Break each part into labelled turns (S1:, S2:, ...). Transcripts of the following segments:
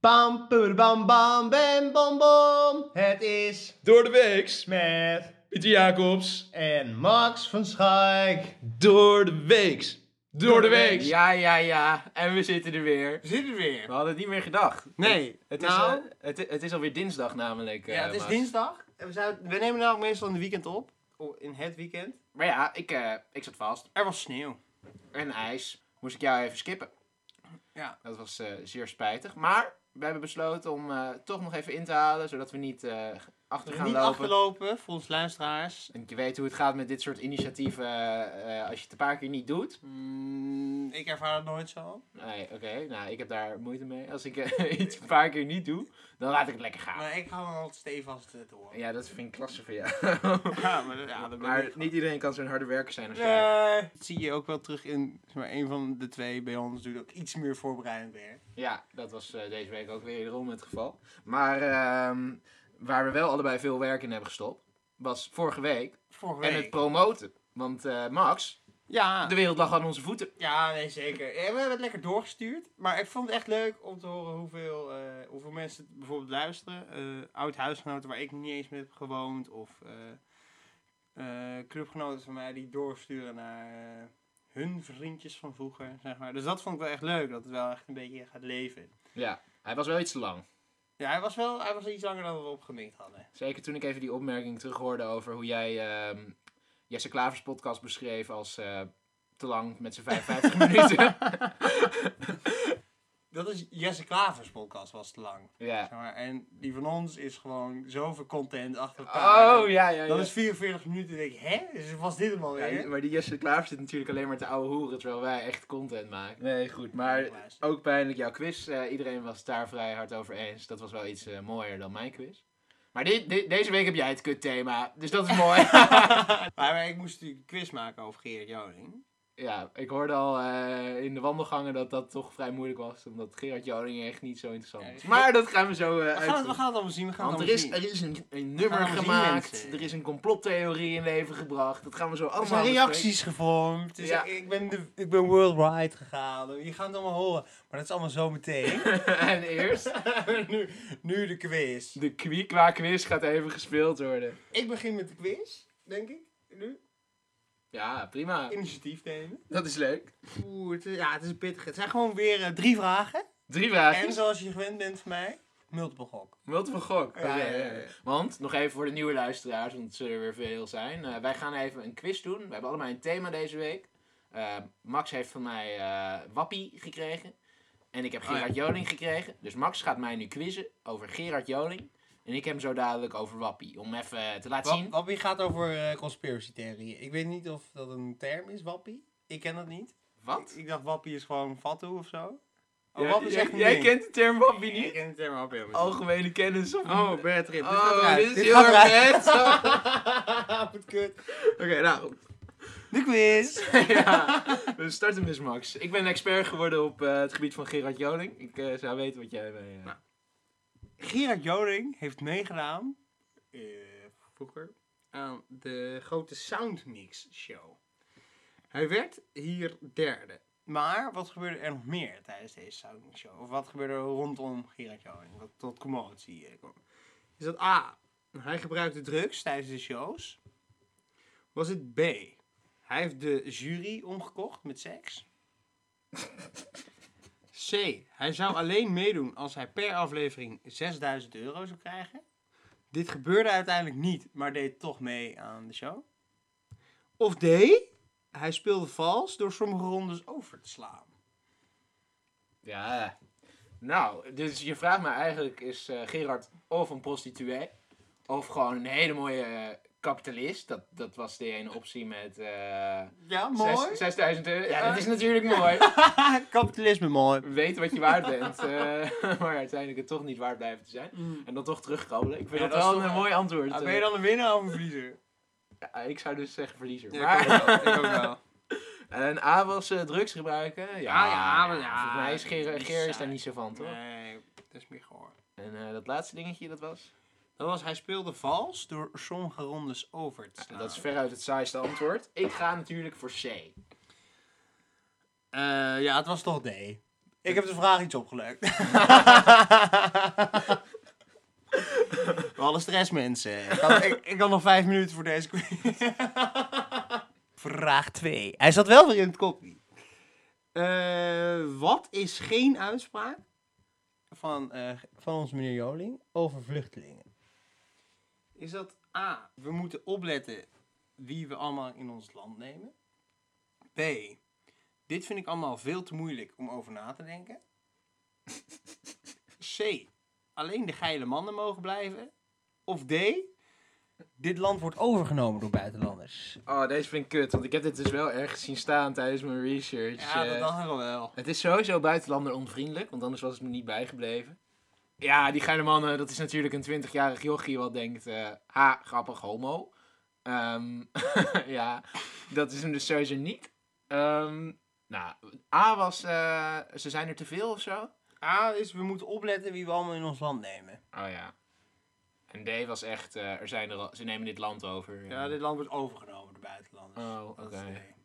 S1: Bam, bam, bam, bam, bam, bam. Het is
S2: Door de weeks.
S1: Smet
S2: Pieter Jacobs.
S1: en Max van Schaik.
S2: Door de weeks. Door de weeks.
S3: Ja, ja, ja. En we zitten er weer.
S4: We zitten weer.
S3: We hadden het niet meer gedacht.
S4: Nee,
S3: Het is,
S4: nou,
S3: eh, het, i- het is alweer dinsdag namelijk. eh,
S4: ja, het is
S3: Maas.
S4: dinsdag. En We, zouden- we nemen namelijk meestal in het weekend op. O, In het weekend.
S3: Maar ja, ik, eh, ik zat vast.
S4: Er was sneeuw.
S3: En ijs. Moest ik jou even skippen.
S4: Ja.
S3: Dat was eh, zeer spijtig. Maar we hebben besloten om eh, toch nog even in te halen. Zodat we niet eh,
S4: We
S3: achter
S4: zijn
S3: gaan
S4: niet
S3: lopen.
S4: afgelopen voor ons luisteraars.
S3: En je weet hoe het gaat met dit soort initiatieven. eh, eh, als je het een paar keer niet doet.
S4: Mm, ik ervaar het nooit zo.
S3: Nee, oké. Nou, ik heb daar moeite mee. Als ik eh, iets een paar keer niet doe, dan laat ik het lekker gaan.
S4: Maar ik hou me altijd stevast eh, door.
S3: Ja, dat vind ik klasse voor jou.
S4: Ja, maar, dat- ja, dat ben
S3: maar
S4: ik.
S3: niet iedereen kan zo'n harde werker zijn als jij.
S4: Nee. Dat zie je ook wel terug in zeg maar, een van de twee bij ons. Doet ook iets meer voorbereidend weer.
S3: Ja, dat was eh, deze week ook weer wederom het geval. Maar ehm, waar we wel allebei veel werk in hebben gestopt, was vorige week.
S4: Vorige
S3: En
S4: week.
S3: het promoten. Want eh, Max,
S4: ja.
S3: de wereld lag aan onze voeten.
S4: Ja, nee, zeker. Ja, we hebben het lekker doorgestuurd. Maar ik vond het echt leuk om te horen hoeveel, eh, hoeveel mensen het bijvoorbeeld luisteren. Eh, Oud-huisgenoten waar ik niet eens mee heb gewoond. Of eh, eh, clubgenoten van mij die doorsturen naar eh, hun vriendjes van vroeger, zeg maar. Dus dat vond ik wel echt leuk, dat het wel echt een beetje gaat leven.
S3: Ja, hij was wel iets te lang.
S4: Ja, hij was wel hij was iets langer dan we opgemikt hadden.
S3: Zeker toen ik even die opmerking terughoorde over hoe jij ehm, Jesse Klavers podcast beschreef als eh, te lang met zijn 55 minuten.
S4: Dat is Jesse Klavers podcast, was te lang.
S3: Ja.
S4: Zeg maar. En die van ons is gewoon zoveel content achter elkaar.
S3: Oh, ja, ja, ja.
S4: Dat is 44 minuten. denk ik, hè? Dus was dit hem alweer?
S3: Ja, maar die Jesse Klaver zit natuurlijk alleen maar te ouwe hoeren, terwijl wij echt content maken. Nee, goed. Maar
S4: Luister.
S3: ook pijnlijk jouw quiz. eh, iedereen was het daar vrij hard over eens. Dat was wel iets eh, mooier dan mijn quiz. Maar dit, dit- deze week heb jij het kutthema, dus dat is mooi.
S4: maar, maar ik moest natuurlijk een quiz maken over Gerrit Joling.
S3: ja, ik hoorde al eh, in de wandelgangen dat dat toch vrij moeilijk was, omdat Gerard Joling echt niet zo interessant
S4: Ja,
S3: is.
S4: ik-
S3: Maar dat gaan we zo eh
S4: We gaan, het, we
S3: uitzoeken.
S4: gaan het allemaal zien. We gaan
S3: Want er
S4: het
S3: is,
S4: allemaal zien.
S3: er is een, een
S4: gaan
S3: nummer
S4: allemaal zien,
S3: gemaakt,
S4: mensen.
S3: er is een complottheorie in leven gebracht, dat gaan we zo allemaal
S4: Er zijn
S3: bespreken.
S4: reacties gevormd. Dus
S3: Ja.
S4: ik, ik ben de, ik ben worldwide gegaan. Je gaat het allemaal horen. Maar dat is allemaal zo meteen.
S3: en eerst,
S4: nu, nu de quiz.
S3: de Kwiekwa quiz gaat even gespeeld worden.
S4: Ik begin met de quiz, denk ik. Nu.
S3: Ja, prima.
S4: Initiatief nemen.
S3: Dat is leuk.
S4: Oeh, het is, ja, het is pittig. Het zijn gewoon weer eh, drie vragen.
S3: Drie vragen.
S4: En zoals je gewend bent van mij, multiple gok.
S3: Multiple gok.
S4: Ja,
S3: Oké,
S4: ja, ja,
S3: ja.
S4: ja.
S3: Want, nog even voor de nieuwe luisteraars, want het zullen er weer veel zijn. Eh, wij gaan even een quiz doen. We hebben allemaal een thema deze week. Eh, Max heeft van mij eh, Wappie gekregen. En ik heb Gerard Joling gekregen. Dus Max gaat mij nu quizzen over Gerard Joling. En ik heb hem zo dadelijk over Wappie. Om even te laten
S4: Wa-
S3: zien.
S4: Wappie gaat over eh, conspiracy theorieën. Ik weet niet of dat een term is, Wappie. Ik ken dat niet.
S3: Wat?
S4: Ik, ik dacht Wappie is gewoon fatsoen of zo. Oh,
S3: Ja,
S4: Wappie is
S3: jij-
S4: echt een
S3: jij
S4: ding.
S3: kent de term Wappie
S4: Ik
S3: niet?
S4: ken de term Wappie helemaal niet.
S3: Algemene kennis. Of...
S2: Oh, bad trip.
S3: Oh,
S4: eruit.
S3: dit
S4: Dit
S3: is heel
S4: gaat
S3: erg bad.
S4: Wat kut.
S3: Oké, nou.
S4: De quiz.
S3: ja, we starten met Max. Ik ben expert geworden op eh, het gebied van Gerard Joling. Ik eh, zou weten wat jij mee...
S4: Nou.
S3: eh,
S4: Gerard Joling heeft meegedaan, eh, vroeger, aan de grote Soundmix Show. Hij werd hier derde. Maar wat gebeurde er nog meer tijdens deze Soundmix Show? Of wat gebeurde er rondom Gerard Joling, wat tot commotie eh, kwam? Is dat A, hij gebruikte drugs tijdens de shows? Was het B, hij heeft de jury omgekocht met seks? C. Hij zou alleen meedoen als hij per aflevering 6000 euro zou krijgen. Dit gebeurde uiteindelijk niet, maar deed toch mee aan de show. Of D. Hij speelde vals door sommige rondes over te slaan.
S3: Ja. Nou, dus je vraagt me eigenlijk, is eh, Gerard of een prostituee? Of gewoon een hele mooie eh, kapitalist? Dat, dat was de ene optie met... eh,
S4: Ja,
S3: zes- 6000 euro. Ja, dat is natuurlijk mooi.
S4: Ah, Kapitalisme mooi.
S3: Weet wat je waard bent. eh, maar uiteindelijk het toch niet waard blijven te zijn. En dan toch terugkomen. Ik vind
S4: Ja,
S3: dat,
S4: dat is
S3: wel
S4: toch
S3: een
S4: wel- Ah,
S3: mooi antwoord. eh.
S4: ben je dan een winnaar of een verliezer?
S3: Ja, ik zou dus zeggen verliezer.
S4: Ja,
S3: maar...
S4: ik ook wel, ik ook wel.
S3: En A was eh, drugs gebruiken. Ja,
S4: Ah, ja, maar ja,
S3: Volgens mij is
S4: dat
S3: Geer,
S4: is
S3: Geer is
S4: saai.
S3: daar niet zo van, toch?
S4: Nee, dat is meer gehoor.
S3: En eh, dat laatste dingetje, dat was?
S4: Dat was, hij speelde vals door sommige rondes over te slaan.
S3: Dat is veruit het saaiste antwoord. Ik ga natuurlijk voor C.
S4: Eh, ja, het was toch D. Ik heb de vraag iets opgelukt. We hadden stress, mensen. Ik had, ik, ik had nog vijf minuten voor deze quiz. vraag 2. Hij zat wel weer in het kopje. Eh, wat is geen uitspraak van, eh, van ons meneer Joling over vluchtelingen? Is dat A. We moeten opletten wie we allemaal in ons land nemen. B. Dit vind ik allemaal veel te moeilijk om over na te denken. C. Alleen de geile mannen mogen blijven. Of D. Dit land wordt overgenomen door buitenlanders.
S3: Oh, deze vind ik kut, want ik heb dit dus wel ergens zien staan tijdens mijn research.
S4: Ja, dat
S3: eh.
S4: dacht ik al wel.
S3: Het is sowieso buitenlander onvriendelijk, want anders was het me niet bijgebleven. Ja, die geile mannen, dat is natuurlijk een 20-jarig jochie wat denkt, eh, ha, grappig, homo. Ehm, ja, dat is hem dus sowieso niet. Ehm, nou, A was, eh, ze zijn er te veel of zo.
S4: A is we moeten opletten wie we allemaal in ons land nemen.
S3: Oh ja. En D was echt, eh, er zijn er, al- ze nemen dit land over.
S4: Ja, dit land wordt overgenomen door buitenlanders.
S3: Oh, oké.
S4: Dat is D.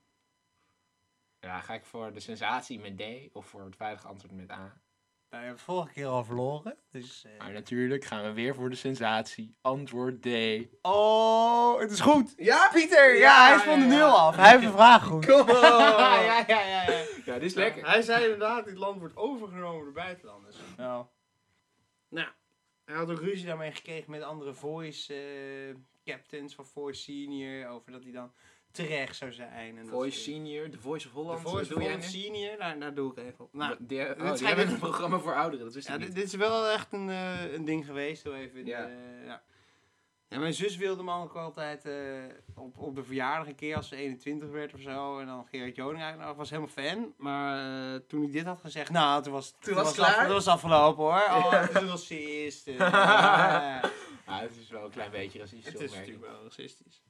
S3: Ja, ga ik voor de sensatie met D of voor het veilige antwoord met A?
S4: Nou, je hebt het vorige keer al verloren. Dus, eh,
S3: Maar natuurlijk gaan we weer voor de sensatie. Antwoord D.
S4: Oh, het is goed.
S3: Ja?
S4: Pieter, ja,
S3: Ja,
S4: hij is van de
S3: ja, ja.
S4: nul af. Hij heeft de vraag goed.
S3: ja, ja, ja, ja. Ja, dit is lekker.
S4: Hij zei inderdaad, dit land wordt overgenomen door buitenlanders. Nou. Nou, hij had ook ruzie daarmee gekregen met andere voice eh, captains van Voice Senior. Over dat hij dan terecht zou zijn. En dat
S3: Voice
S4: soort
S3: Senior, The Voice of
S4: dingen.
S3: Holland.
S4: De Voice
S3: doe jij
S4: Holland Senior, daar, daar doe ik even op. Nou,
S3: dit
S4: dit
S3: oh, die
S4: schijnt
S3: hebben
S4: echt-
S3: een programma voor ouderen, dat wist ik
S4: ja,
S3: niet.
S4: dit, dit is wel echt een, eh, een ding geweest. Zo even in de-
S3: Ja.
S4: ja. Ja, mijn zus wilde me ook altijd eh, op, op de verjaardag een keer als ze 21 werd of zo. En dan Gerard Joning eigenlijk nog, was helemaal fan. Maar eh, toen ik dit had gezegd, nou, toen was,
S3: was het
S4: af-
S3: klaar?
S4: toen was het afgelopen hoor. Oh,
S3: Ja.
S4: het is een racist. eh, ja.
S3: Ah, het is wel een klein beetje racistisch.
S4: Het is
S3: opmerking.
S4: natuurlijk wel racistisch.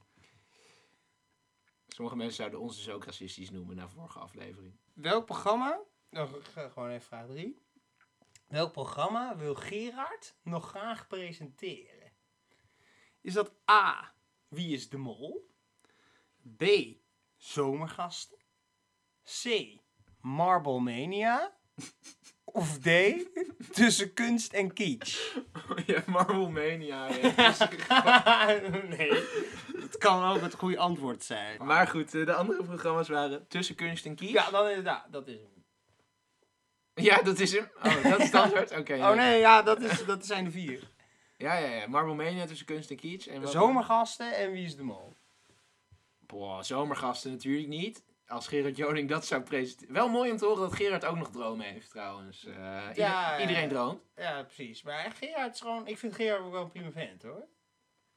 S3: Sommige mensen zouden ons dus ook racistisch noemen na vorige aflevering.
S4: Welk programma, oh, ik ga gewoon even vraag 3. Welk programma wil Gerard nog graag presenteren? Is dat A. Wie is de mol? B. Zomergasten? C. Marblemania? Of D. Tussen kunst en kitsch?
S3: ja, Oh, Marvel Mania.
S4: nee, het kan ook het goede antwoord zijn.
S3: Maar goed, eh, de andere programma's waren Tussen Kunst en Kies.
S4: Ja, dan inderdaad, dat is hem.
S3: Ja, dat is hem. Oh, dat is het antwoord? Oké.
S4: Oh nee, ja, dat, is, dat zijn de vier.
S3: Ja, ja, ja. Marvel Mania, Tussen Kunst en Kies. En wat-
S4: Zomergasten en wie is de mol?
S3: Boah, zomergasten natuurlijk niet. Als Gerard Joning dat zou presenteren. Wel mooi om te horen dat Gerard ook nog dromen heeft trouwens. Eh, ieder-
S4: ja, ja.
S3: Iedereen droomt.
S4: Ja, precies. Maar Gerard is gewoon... Ik vind Gerard ook wel een prima vent, hoor.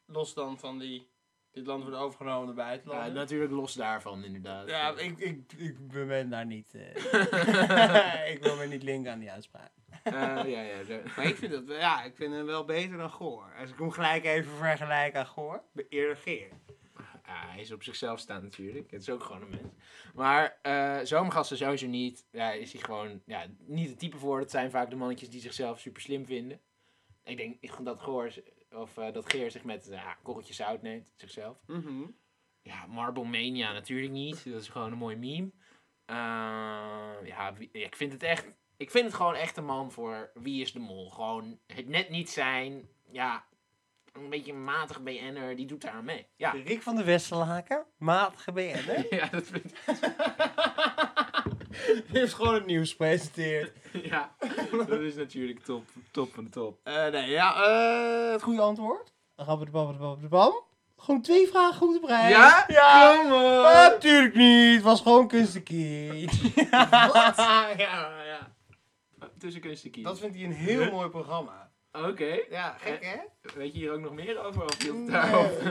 S4: Los dan van die... Dit land wordt overgenomen door
S3: Ja,
S4: buitenlanden.
S3: natuurlijk los daarvan inderdaad.
S4: Ja, ik, ik, ik ben daar niet... eh, ik wil me niet linken aan die uitspraak.
S3: Eh, ja, ja, de-
S4: Maar ik vind, dat, ja, ik vind hem wel beter dan Goor. Als ik hem gelijk even vergelijk aan Goor... Eerder Geer.
S3: Ja, hij is op zichzelf staan natuurlijk. Het is ook gewoon een mens. Maar eh zomergasten sowieso niet. Ja, is hij gewoon ja, niet het type voor. Dat zijn vaak de mannetjes die zichzelf super slim vinden. Ik denk dat, Goor, of, eh, dat Geer zich met ja, een korreltje zout neemt, zichzelf.
S4: Mhm.
S3: Ja, Marble Mania natuurlijk niet. Dat is gewoon een mooi meme. Eh, ja, wie- ik vind het echt... Ik vind het gewoon echt een man voor Wie is de Mol. Gewoon het net niet zijn. Ja, een beetje een matig BN'er. Die doet daar aan mee. Ja,
S4: Rick van de Westerlaken, matige BN'er.
S3: ja dat vind ik...
S4: heeft gewoon het nieuws gepresenteerd.
S3: Ja, dat is natuurlijk top, top van de top.
S4: Eh, nee, ja, eh, het goede antwoord. Dan gaan we de bam, de bam, de bam. Gewoon twee vragen goed op rij.
S3: Ja?
S4: Ja!
S3: Kom op!
S4: Ah, Natuurlijk niet, het was gewoon kunstenkiet.
S3: Wat? ja, ja. Tussen kunst te kiezen.
S4: vindt hij een heel mooi programma.
S3: Oké.
S4: Eh, Ja,
S3: gek,
S4: hè?
S3: Weet je hier ook nog meer over? Of hield het daarop?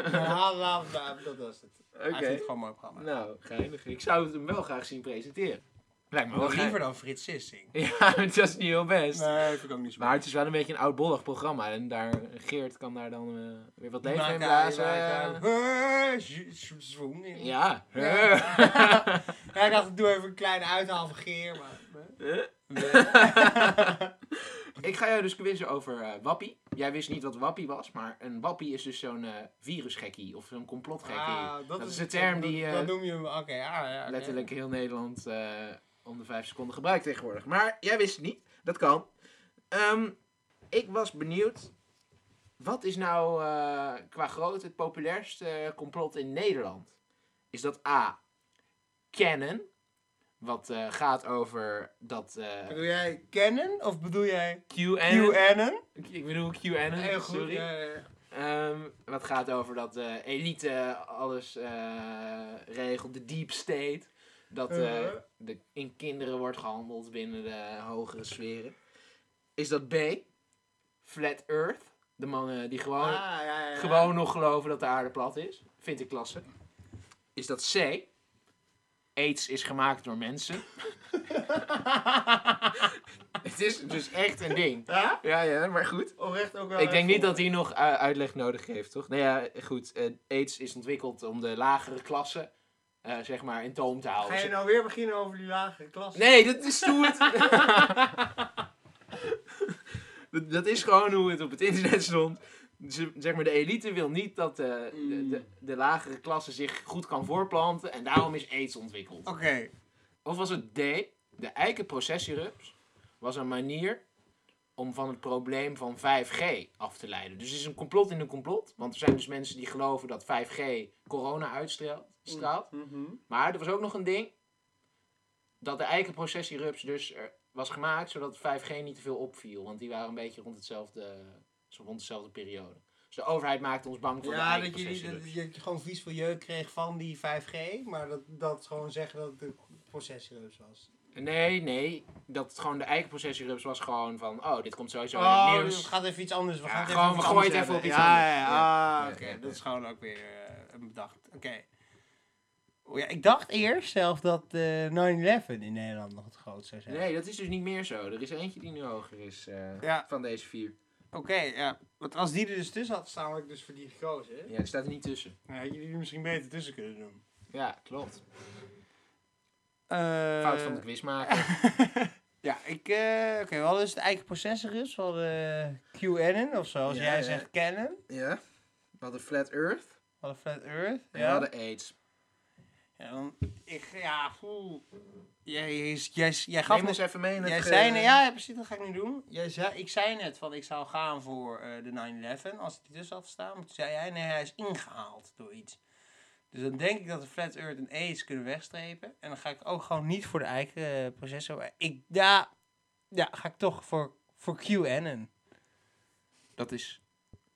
S4: Dat was het.
S3: Oké.
S4: Hij vindt het gewoon een mooi programma.
S3: Nou, geinig. Ik zou het hem wel graag zien presenteren. Lijkt me wel
S4: Nog
S3: geinig.
S4: liever dan Frits Sissing.
S3: Ja, het is niet heel best.
S4: Nee, vind ik ook niet zo
S3: Maar het is wel een beetje een oudbollig programma. En daar, Geert kan daar dan eh, weer wat leven in blazen. eh,
S4: blazen. Ja.
S3: Ja.
S4: Ja, ik dacht, ik doe even een kleine uithaal van Geer, maar...
S3: Ik ga jou dus quizzen over eh Wappie. Jij wist niet wat Wappie was, maar een Wappie is dus zo'n eh, virusgekkie of zo'n complotgekkie.
S4: Ah,
S3: dat, is de term die eh,
S4: Dan noem je hem... Oké, ah, ja, oké.
S3: letterlijk heel Nederland eh, om de vijf seconden gebruikt tegenwoordig. Maar jij wist het niet. Dat kan. Ehm, ik was benieuwd. Wat is nou eh, qua grootte het populairste eh, complot in Nederland? Is dat A. Canon. Wat eh, gaat over dat eh
S4: Bedoel jij kennen of bedoel jij
S3: QAnon.
S4: QAnon?
S3: Ik bedoel QAnon.
S4: Heel goed.
S3: sorry.
S4: ja, ja, ja.
S3: Ehm, wat gaat over dat eh elite alles eh, regelt, de deep state. Dat eh,
S4: Eh.
S3: de, in kinderen wordt gehandeld binnen de hogere sferen. Is dat B? Flat Earth. De mannen die gewoon,
S4: Ah, ja, ja, ja.
S3: gewoon nog geloven dat de aarde plat is. Vind ik klasse. Is dat C? AIDS is gemaakt door mensen. Het is dus echt een ding.
S4: Ja?
S3: Ja, ja, maar goed.
S4: Oprecht ook wel.
S3: Ik denk
S4: echt
S3: niet dat
S4: vol.
S3: hij nog eh, uitleg nodig heeft, toch? Nou ja, goed. eh, AIDS is ontwikkeld om de lagere klasse, eh, zeg maar, in toom te houden.
S4: Ga je
S3: Ze-
S4: nou weer beginnen over die lagere klas?
S3: Nee, dat is stoert. dat, dat is gewoon hoe het op het internet stond. Ze- Zeg maar, de elite wil niet dat eh, de, de, de, de lagere klasse zich goed kan voorplanten en daarom is AIDS ontwikkeld.
S4: Oké.
S3: Of was het D, de eikenprocessierups was een manier om van het probleem van 5G af te leiden. Dus het is een complot in een complot. Want er zijn dus mensen die geloven dat 5G corona uitstraalt. straalt.
S4: Mhm.
S3: Maar er was ook nog een ding. Dat de eikenprocessierups dus er was gemaakt zodat 5G niet te veel opviel. Want die waren een beetje rond, hetzelfde, zo rond dezelfde periode. Dus de overheid maakte ons bang voor de
S4: Ja, dat je,
S3: eikenprocessierups.
S4: dat, je gewoon vies voor jeuk kreeg van die 5G, maar dat, dat gewoon zeggen dat het een procesreus was.
S3: Nee, nee. Dat het gewoon de eikenprocessierups was gewoon van... Oh, dit komt sowieso in
S4: Oh,
S3: het
S4: het
S3: nieuws.
S4: gaat even iets anders. We
S3: Ja,
S4: gaan
S3: gewoon, we
S4: het even over
S3: gooien het
S4: hebben.
S3: even op iets
S4: ja,
S3: anders.
S4: Ja,
S3: Ja.
S4: ja. Ah,
S3: Ja,
S4: oké.
S3: ja,
S4: dat is gewoon ook weer eh, een bedacht. Oké. Oh ja, ik dacht eerst zelf dat eh, 9-11 in Nederland nog het grootste zou zijn.
S3: Nee, dat is dus niet meer zo. Er is eentje die nu hoger is eh,
S4: Ja.
S3: van deze vier.
S4: Oké, ja. Want als die er dus tussen had staan, had ik dus voor die gekozen.
S3: Ja, die staat er niet tussen.
S4: Nou, had je die misschien beter tussen kunnen doen.
S3: Ja, klopt.
S4: Eh,
S3: Fout van de quizmaker.
S4: ja, ik... eh, Oké, we hadden dus de eigen processorus. We hadden eh, QAnon of zoals
S3: Ja,
S4: jij
S3: ja.
S4: zegt, Canon.
S3: ja. We hadden Flat Earth.
S4: We hadden Flat Earth.
S3: En we hadden AIDS.
S4: Ja, dan, ik, ja, voel. Jij, jij, jij, jij gaf
S3: Neem ons
S4: net-
S3: even mee in het... eh,
S4: jij
S3: ge-
S4: zei, net- ja, ja, precies, dat ga ik nu doen. Jij zei, ik zei net van ik zou gaan voor eh, de 9-11 als die tussen had staan. Maar toen zei jij, nee, hij is ingehaald door iets. Dus dan denk ik dat de Flat Earth en AIDS kunnen wegstrepen. En dan ga ik ook gewoon niet voor de eigen eh, processor. Ik, ja, ja, ga ik toch voor, voor QAnon.
S3: Dat is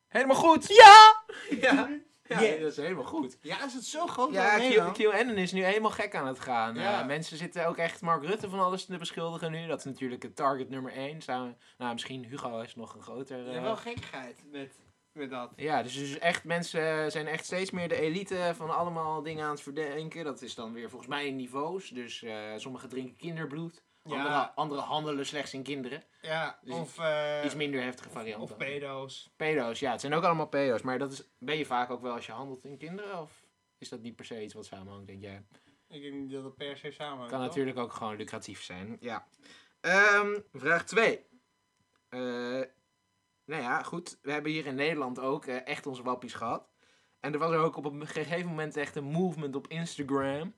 S3: helemaal goed!
S4: Ja!
S3: Ja, ja
S4: Yes.
S3: dat is helemaal goed.
S4: Ja, is het zo groot?
S3: Ja, Q- QAnon is nu helemaal gek aan het gaan.
S4: Ja.
S3: Eh, mensen zitten ook echt Mark Rutte van alles te beschuldigen nu. Dat is natuurlijk het target nummer één. Samen, nou, misschien Hugo is nog een groter... eh,
S4: wel gekkigheid met, met dat.
S3: Ja, dus, dus echt mensen zijn echt steeds meer de elite van allemaal dingen aan het verdenken. Dat is dan weer volgens mij in niveaus. Dus eh, sommigen drinken kinderbloed.
S4: Ja.
S3: Anderen andere handelen slechts in kinderen.
S4: Ja,
S3: Dus
S4: of... eh,
S3: Iets minder heftige varianten.
S4: Of pedo's.
S3: pedo's, ja. Het zijn ook allemaal pedo's. Maar dat is, ben je vaak ook wel als je handelt in kinderen? Of is dat niet per se iets wat samenhangt, denk jij?
S4: Ik denk niet dat het per se samen
S3: Kan natuurlijk ook gewoon lucratief zijn. Ja. Ehm, vraag 2. nou ja, goed. We hebben hier in Nederland ook eh, echt onze wappies gehad. En er was ook op een gegeven moment echt een movement op Instagram.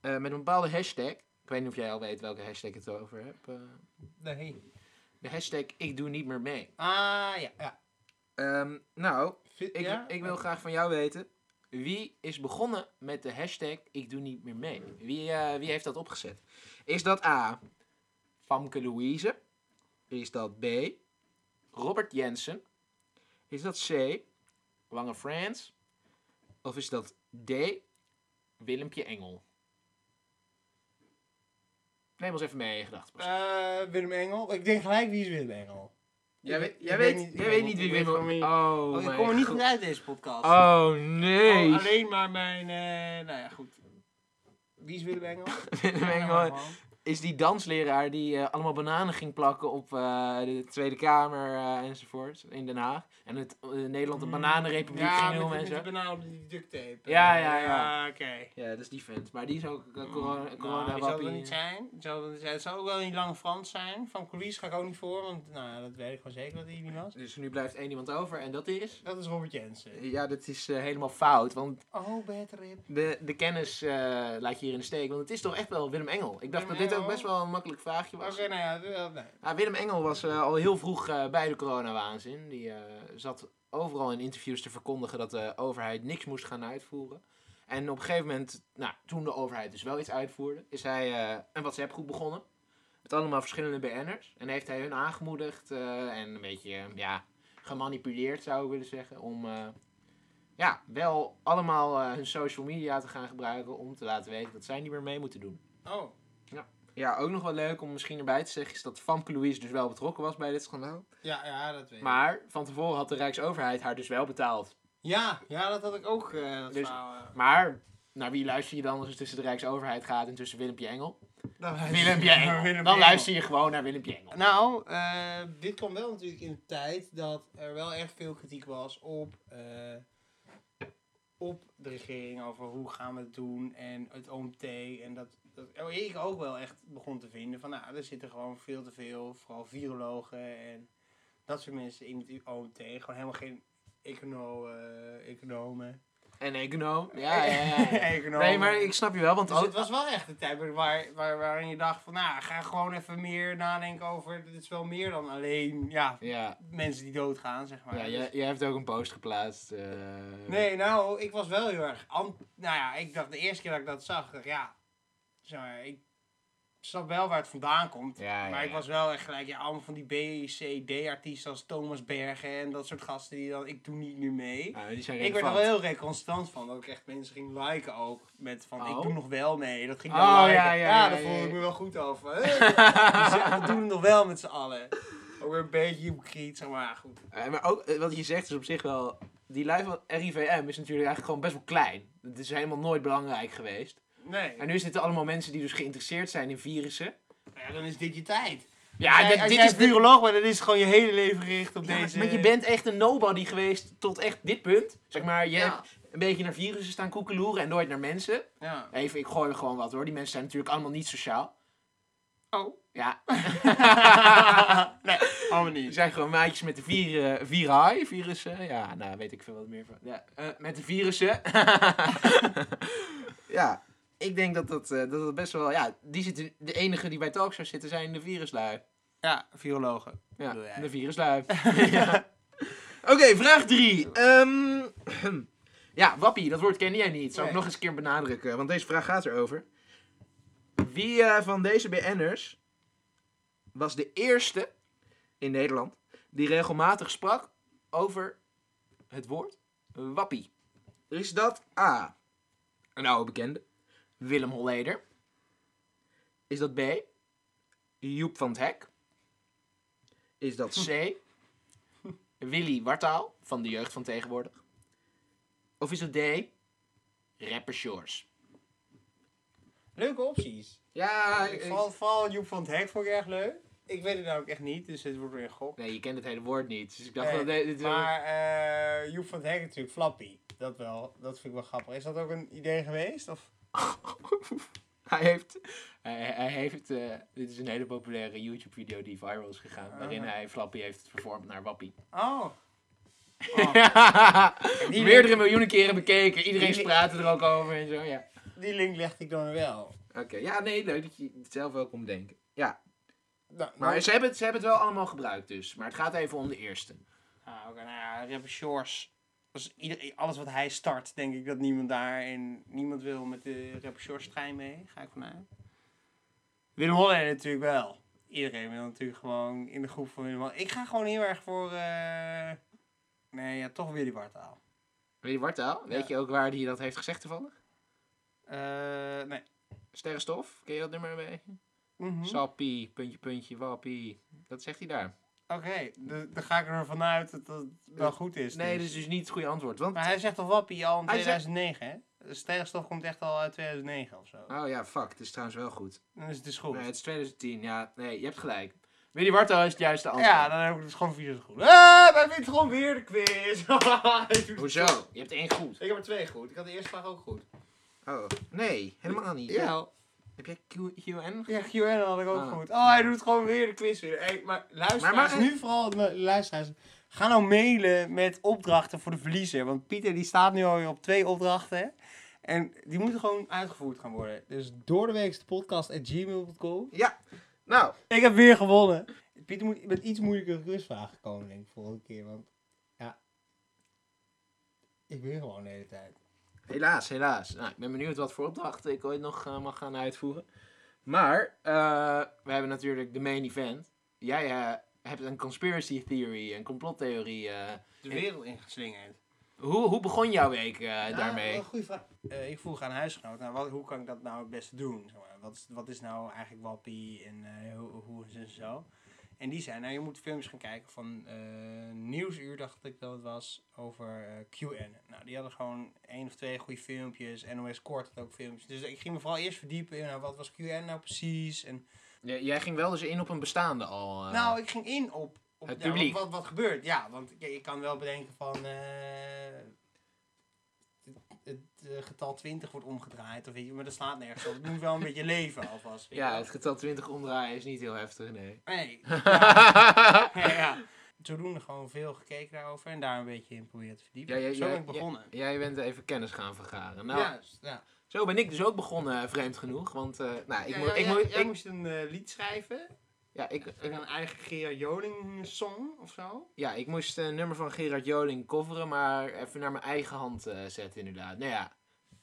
S3: eh, met een bepaalde hashtag. Ik weet niet of jij al weet welke hashtag het over hebt. eh.
S4: Nee.
S3: de hashtag ik doe niet meer mee.
S4: Ah, ja. ja.
S3: Ehm, nou,
S4: Vind-
S3: ik,
S4: ja?
S3: ik wil graag van jou weten. Wie is begonnen met de hashtag ik doe niet meer mee? Wie, eh, wie heeft dat opgezet? Is dat A. Famke Louise? Is dat B. Robert Jensen? Is dat C. Lange Frans? Of is dat D. Willempje Engel? Neem ons even mee in gedachten. Bas.
S4: Eh, Willem Engel. Ik denk gelijk wie is Willem Engel.
S3: jij
S4: ik-
S3: weet,
S4: ik
S3: jij
S4: weet
S3: weet,
S4: niet- ik
S3: jij
S4: weet
S3: weet
S4: niet
S3: niet wie
S4: wie
S3: Willem...
S4: van wie-
S3: Oh,
S4: ik
S3: mijn
S4: kom er niet
S3: god.
S4: goed uit deze podcast.
S3: Oh, nee.
S4: Oh, alleen maar mijn... eh, nou ja, goed. Wie is Willem Engel?
S3: Willem
S4: Ja,
S3: Engel.
S4: maar gewoon.
S3: is die dansleraar die eh, allemaal bananen ging plakken op eh, de Tweede Kamer eh, enzovoort in Den Haag. En het eh, Nederland een bananenrepubliek
S4: Mm. Ja,
S3: ging noemen
S4: met,
S3: en
S4: die-
S3: zo.
S4: met die benauwde die duct tape.
S3: Ja, ja, ja.
S4: Ah, oké.
S3: Ja, dat is die vent. Maar die is ook eh, corona,
S4: Nou,
S3: corona
S4: die zal
S3: wappie.
S4: er niet zijn. Die zal er niet zijn. Het zou ook wel niet lang Frans zijn. Van Coulis ga ik ook niet voor, want nou, ja, dat weet ik gewoon zeker dat hij niet was.
S3: Dus nu blijft één iemand over en dat is...
S4: Dat is Robert Jensen.
S3: Ja, dat is eh, helemaal fout, want
S4: Oh, bad rip.
S3: de, de kennis eh, laat je hier in de steek. Want het is toch echt wel Willem Engel. Ik dacht
S4: Willem
S3: dat dit dat het best wel een makkelijk vraagje
S4: Oké,
S3: was.
S4: nou ja, eh, nee.
S3: Ah, Willem Engel was eh, al heel vroeg eh, bij de coronawaanzin. Die eh, zat overal in interviews te verkondigen dat de overheid niks moest gaan uitvoeren. En op een gegeven moment, nou, toen de overheid dus wel iets uitvoerde, is hij eh, een WhatsApp-groep begonnen. Met allemaal verschillende BN'ers. En heeft hij hun aangemoedigd eh, en een beetje, eh, ja, gemanipuleerd zou ik willen zeggen. Om, eh, ja, wel allemaal eh, hun social media te gaan gebruiken om te laten weten dat zij niet meer mee moeten doen.
S4: Oh,
S3: Ja, ook nog wel leuk om misschien erbij te zeggen is dat Famke Louise dus wel betrokken was bij dit schandaal.
S4: ja, ja, dat weet ik.
S3: Maar van tevoren had de Rijksoverheid haar dus wel betaald.
S4: Ja, ja, dat had ik ook. eh dat
S3: Dus-
S4: verhaal, eh.
S3: Maar naar wie luister je dan als het tussen de Rijksoverheid gaat en tussen Willempje Engel? Willempje
S4: Willem
S3: Engel.
S4: Willem
S3: dan
S4: Engel.
S3: luister je gewoon naar Willempje Engel.
S4: Nou, eh, dit kwam wel natuurlijk in de tijd dat er wel erg veel kritiek was op, eh, op de regering over hoe gaan we het doen en het OMT. En dat, dat oh, ik ook wel echt begon te vinden van nou, er zitten gewoon veel te veel, vooral virologen en dat soort mensen in het OMT. Gewoon helemaal geen econo, eh, economen.
S3: En Econo. Ja, ja, ja. ja.
S4: Economen.
S3: Nee, maar ik snap je wel, want
S4: Dus het
S3: al,
S4: was wel echt een tijd waar, waar, waarin je dacht van, nou, ga gewoon even meer nadenken over, dit is wel meer dan alleen, ja,
S3: ja,
S4: mensen die doodgaan, zeg maar.
S3: ja,
S4: Dus-
S3: jij, jij hebt ook een post geplaatst. eh.
S4: Nee, nou, ik was wel heel erg... ant- nou ja, ik dacht de eerste keer dat ik dat zag, dacht ik, ja, zeg maar, ik snap wel waar het vandaan komt.
S3: Ja, ja,
S4: maar ik
S3: ja.
S4: was wel echt gelijk, ja, allemaal van die B, C, D-artiesten als Thomas Bergen en dat soort gasten die dan, ik doe niet nu mee.
S3: Ah, die zijn
S4: Ik werd er wel
S3: relevant.
S4: heel reconstant van, dat ik echt mensen ging liken ook. Met van,
S3: Oh.
S4: ik doe nog wel mee. Dat ging ik
S3: Oh,
S4: dan liken.
S3: ja, ja, ja,
S4: daar
S3: ja,
S4: voelde
S3: ja.
S4: ik me wel goed over. Hè? Die zeggen, we doen het nog wel met z'n allen. Ook weer een beetje hypocriet, zeg maar. Goed.
S3: Eh, maar ook eh, wat je zegt is op zich wel. Die lijn van RIVM is natuurlijk eigenlijk gewoon best wel klein. Het is helemaal nooit belangrijk geweest.
S4: Nee,
S3: En nu zitten allemaal mensen die dus geïnteresseerd zijn in virussen.
S4: ja, dan is dit je tijd.
S3: Ja,
S4: Als jij-
S3: dit,
S4: als
S3: dit
S4: jij
S3: is de-
S4: viroloog, maar dan is gewoon je hele leven gericht op
S3: Ja,
S4: deze...
S3: Want je bent echt een nobody geweest tot echt dit punt. Zeg maar, je
S4: Ja.
S3: hebt een beetje naar virussen staan koekeloeren en nooit naar mensen.
S4: Ja.
S3: Even, ik gooi er gewoon wat hoor. Die mensen zijn natuurlijk allemaal niet sociaal.
S4: Oh.
S3: Ja,
S4: nee, allemaal
S3: die
S4: niet.
S3: zijn gewoon maatjes met de vier, eh, vier high virussen. Ja, nou weet ik veel wat meer van. Ja, eh, met de virussen. ja, ik denk dat dat, eh, dat dat best wel... Ja, die zitten, de enige die bij talkshows zitten zijn de viruslui.
S4: Ja, virologen.
S3: Ja,
S4: Bedoel jij?
S3: de viruslui.
S1: Oké, vraag 3.
S3: Ehm, Ja, wappie, dat woord kende jij niet. Zou ik
S4: Nee.
S3: nog eens een keer benadrukken.
S1: want deze vraag gaat erover. Wie eh, van deze BN'ers
S3: Was de eerste in Nederland die regelmatig sprak over het woord wappie.
S1: is dat A?
S3: Een oude bekende. Willem Holleder. Is dat B? Joep van het Hek.
S1: Is dat C?
S3: C. Willy Wartaal van de jeugd van tegenwoordig. Of is dat D? Rapper Shores.
S4: Leuke opties.
S3: Ja,
S4: Ik val, val Joep van het Hek vond ik erg leuk. Ik weet het namelijk echt niet, dus het wordt weer een gok.
S3: Nee, je kent het hele woord niet. Dus ik dacht
S4: Nee,
S3: dat dit- dit-
S4: maar eh Joep van het Hek natuurlijk, Flappy. Dat wel, dat vind ik wel grappig. Is dat ook een idee geweest? Of?
S3: Hij heeft, hij, hij heeft eh, dit is een hele populaire YouTube video die viral is gegaan, waarin
S4: Ah.
S3: hij Flappy heeft vervormd naar Wappie.
S4: Oh. die
S3: Meerdere
S4: link-
S3: miljoenen keren bekeken,
S4: Die-
S3: iedereen praatte er ook over en zo, ja.
S4: Die link legde ik dan wel.
S1: Oké, ja, nee, leuk dat je het zelf ook komt denken. Ja,
S4: Nou,
S3: Maar ze hebben, het, ze hebben het wel allemaal gebruikt dus, maar het gaat even om de eerste.
S4: Ah, oké, nou ja, rapper Shores. Als ieder, alles wat hij start, denk ik dat niemand daar en niemand wil met de rapper Shores trein mee. Ga ik vanuit. Willem Holleder natuurlijk wel. Iedereen wil natuurlijk gewoon in de groep van Willem Holleder. Ik ga gewoon heel erg voor... eh, Nee, ja, toch Willy Bartaal.
S3: Willy Wartaal, weet je ook waar hij dat heeft gezegd toevallig?
S4: Eh nee.
S3: Sterrenstof, ken je dat nummer mee? Hm?
S4: Mhm.
S3: Sappie, puntje, puntje, wappie. Dat zegt hij daar.
S4: Oké, de- dan ga ik ervan uit dat dat wel goed is.
S3: Eh, Nee,
S4: dus.
S3: dat is dus niet het goede antwoord, want...
S4: Maar hij zegt al Wappie al in
S3: Hij zegt-
S4: 2009, hè? Sterrenstof komt echt al uit 2009 of zo.
S3: Oh ja, fuck, het is trouwens wel goed.
S4: Dan is het dus goed.
S3: Nee, het is 2010. Ja, nee, je hebt gelijk. Willy Wartel is het juiste antwoord.
S4: Ja, dan heb ik het gewoon vier zo goed. Ah, wij winnen gewoon weer de quiz.
S3: Hoezo? Je hebt één goed.
S4: Ik heb er twee goed. Ik had de eerste vraag ook goed.
S1: Oh, nee, helemaal niet.
S3: Heb jij Q- QN?
S4: Ja, QN had ik ook
S3: Ah.
S4: goed. Oh, hij doet gewoon weer de quiz weer. Hey, maar luisteraars,
S3: Maar- maar-
S4: nu vooral de luisteraars. Ga nou mailen met opdrachten voor de verliezer. Want Pieter die staat nu alweer op twee opdrachten. En die moeten gewoon uitgevoerd gaan worden.
S5: Dus door de weekse podcast at gmail.com.
S1: Ja, nou,
S5: Ik heb weer gewonnen. Pieter moet met iets moeilijkere quizvragen gekomen, denk ik, volgende keer. Want ja, ik win gewoon de hele tijd.
S3: Helaas, helaas. Nou, ik ben benieuwd wat voor opdrachten ik ooit nog eh, mag gaan uitvoeren. Maar eh, we hebben natuurlijk de main event. Jij eh, hebt een conspiracy theory, een complottheorie. eh.
S4: De wereld ingeslingerd.
S3: hoe, hoe begon jouw week eh, daarmee?
S5: goede vraag.
S4: Eh, ik vroeg aan huisgenoot, nou, wat, hoe kan ik dat nou het beste doen? Zeg maar, wat, is, wat is nou eigenlijk wappie en eh, hoe, hoe is het en zo? En die zei, nou je moet films gaan kijken van eh, Nieuwsuur, dacht ik dat het was, over eh QAnon. Nou, die hadden gewoon één of twee goede filmpjes, NOS Kort had ook filmpjes. Dus ik ging me vooral eerst verdiepen in, nou, wat was QAnon nou precies? En
S3: J- jij ging wel dus in op een bestaande al. eh.
S4: Nou, ik ging in op, op
S3: Het
S4: ja, wat-
S3: publiek.
S4: Wat, wat, gebeurt. Ja, want je, je kan wel bedenken van. eh, het, het, eh, getal 20 wordt omgedraaid, of weet je, maar dat slaat nergens op. Het moet wel een beetje leven alvast. weet je
S3: ja,
S4: wel.
S3: het getal 20 omdraaien is niet heel heftig, nee.
S4: Nee. Ja. ja, ja. Zodoende gewoon veel gekeken daarover en daar een beetje in proberen te verdiepen.
S3: Ja, ja,
S4: Zo
S3: ja,
S4: ben ik begonnen. Ja,
S3: Jij bent even kennis gaan vergaren. Nou,
S4: ja, ja.
S3: zo ben ik dus ook begonnen, vreemd genoeg. Want eh, nou, ik
S4: Ja,
S3: moet.
S4: ja,
S3: Ik
S4: ja,
S3: moet
S4: jij
S3: ik,
S4: moest een eh, lied schrijven.
S3: ja, ik, ik-
S4: Een eigen Gerard Joling song of zo.
S3: ja, ik moest een nummer van Gerard Joling coveren, maar even naar mijn eigen hand eh, zetten, inderdaad. Nou ja,